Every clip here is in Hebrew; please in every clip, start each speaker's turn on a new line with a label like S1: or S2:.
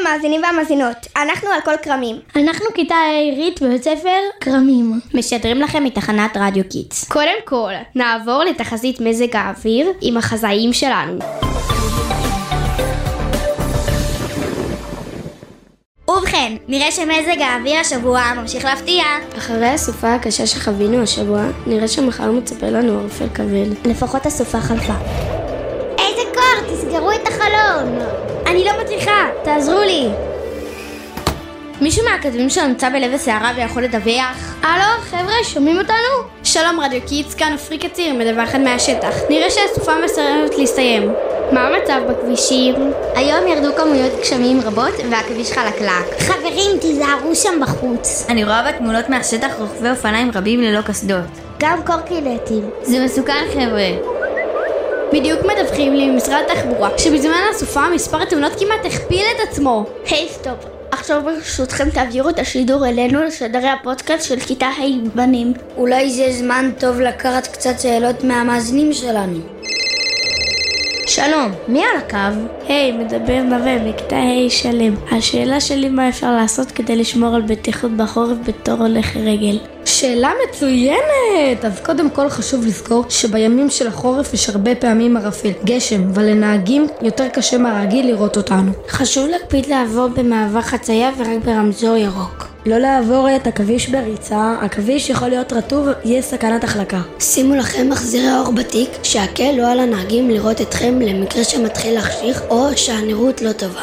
S1: המאזינים והמאזינות, אנחנו על כל כרמים.
S2: אנחנו כיתה עירית בבית ספר כרמים.
S3: משדרים לכם מתחנת רדיו קיטס.
S4: קודם כל, נעבור לתחזית מזג האוויר עם החזאים שלנו.
S5: ובכן, נראה שמזג האוויר השבוע ממשיך להפתיע.
S6: אחרי הסופה הקשה שחווינו השבוע, נראה שמחר מצפה לנו ערפל כבד.
S7: לפחות הסופה חלפה.
S5: איזה קור! תסגרו את החלום!
S7: אני לא מצליחה! תעזרו לי!
S3: מישהו מהכתבים שלו נמצא בלב הסערה ויכול לדווח?
S4: הלו, חבר'ה, שומעים אותנו?
S6: שלום רדיו קיטס, כאן אפריקה ציר מדווחת מהשטח. נראה שהסופה מסרבת להסתיים.
S4: מה המצב בכבישים?
S7: היום ירדו כמויות גשמים רבות והכביש חלקלק.
S5: חברים, תיזהרו שם בחוץ.
S3: אני רואה בתמונות מהשטח רוכבי אופניים רבים ללא קסדות.
S5: גם קורקינטים.
S3: זה מסוכן, חבר'ה.
S6: בדיוק מדווחים לי ממשרד התחבורה שבזמן הסופה מספר התאונות כמעט הכפיל את עצמו.
S1: היי, hey, סטופ. עכשיו ברשותכם תעבירו את השידור אלינו לשדרי הפודקאסט של כיתה ה' hey, בנים.
S8: אולי זה זמן טוב לקחת קצת שאלות מהמאזינים שלנו.
S3: שלום, מי על הקו?
S9: היי, hey, מדבר נווה מכיתה ה' שלם. השאלה שלי מה אפשר לעשות כדי לשמור על בטיחות בחורף בתור הולך רגל.
S10: שאלה מצוינת! אז קודם כל חשוב לזכור שבימים של החורף יש הרבה פעמים ערפל, גשם, ולנהגים יותר קשה מהרגיל לראות אותנו.
S9: חשוב להקפיד לעבור במעבר חצייה ורק ברמזור ירוק.
S11: לא לעבור את עכביש בריצה, עכביש יכול להיות רטוב, יש סכנת החלקה.
S12: שימו לכם מחזירי אור בתיק, שהקל לא על הנהגים לראות אתכם למקרה שמתחיל להחשיך, או שהנראות לא טובה.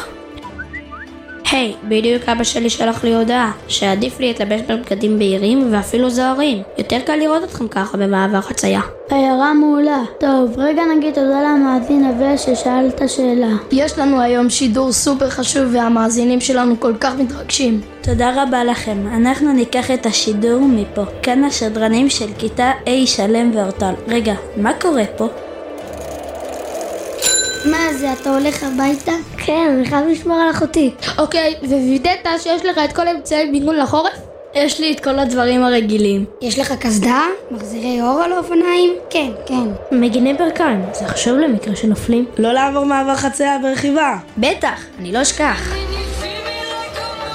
S9: היי, hey, בדיוק אבא שלי שלח לי הודעה שעדיף לי להתלבש בבגדים בהירים ואפילו זוהרים. יותר קל לראות אתכם ככה במעבר חצייה.
S2: הערה מעולה. לא, טוב, רגע נגיד תודה למאזין נווה ששאל את השאלה.
S6: יש לנו היום שידור סופר חשוב והמאזינים שלנו כל כך מתרגשים.
S9: תודה רבה לכם, אנחנו ניקח את השידור מפה. כאן השדרנים של כיתה A שלם ואורטל. רגע, מה קורה פה?
S5: מה זה, אתה הולך הביתה?
S2: כן, אני חייב לשמור על אחותי.
S4: אוקיי, ווידאת שיש לך את כל אמצעי מיגון לחורף?
S9: יש לי את כל הדברים הרגילים.
S8: יש לך קסדה? מחזירי אור על האופניים?
S5: כן, כן.
S9: מגיני ברכיים, זה חשוב למקרה שנופלים.
S13: לא לעבור מעבר חצייה ברכיבה.
S3: בטח, אני לא אשכח.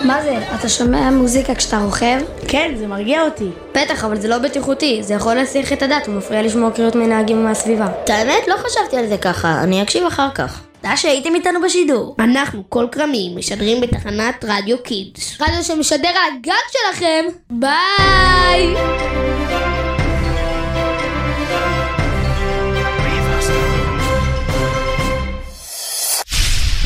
S8: מה זה, אתה שומע מוזיקה כשאתה רוכב?
S13: כן, זה מרגיע אותי.
S3: בטח, אבל זה לא בטיחותי, זה יכול להסיח את הדעת ומפריע לשמוע קריאות מנהגים מהסביבה.
S12: את האמת, לא חשבתי על זה ככה, אני אקשיב אחר כך.
S3: תודה שהייתם איתנו בשידור.
S1: אנחנו כל כרמים משדרים בתחנת רדיו קידס.
S4: רדיו שמשדר על הגג שלכם! ביי!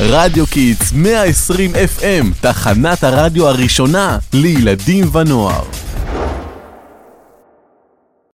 S14: רדיו קיטס 120 FM, תחנת הרדיו הראשונה לילדים ונוער.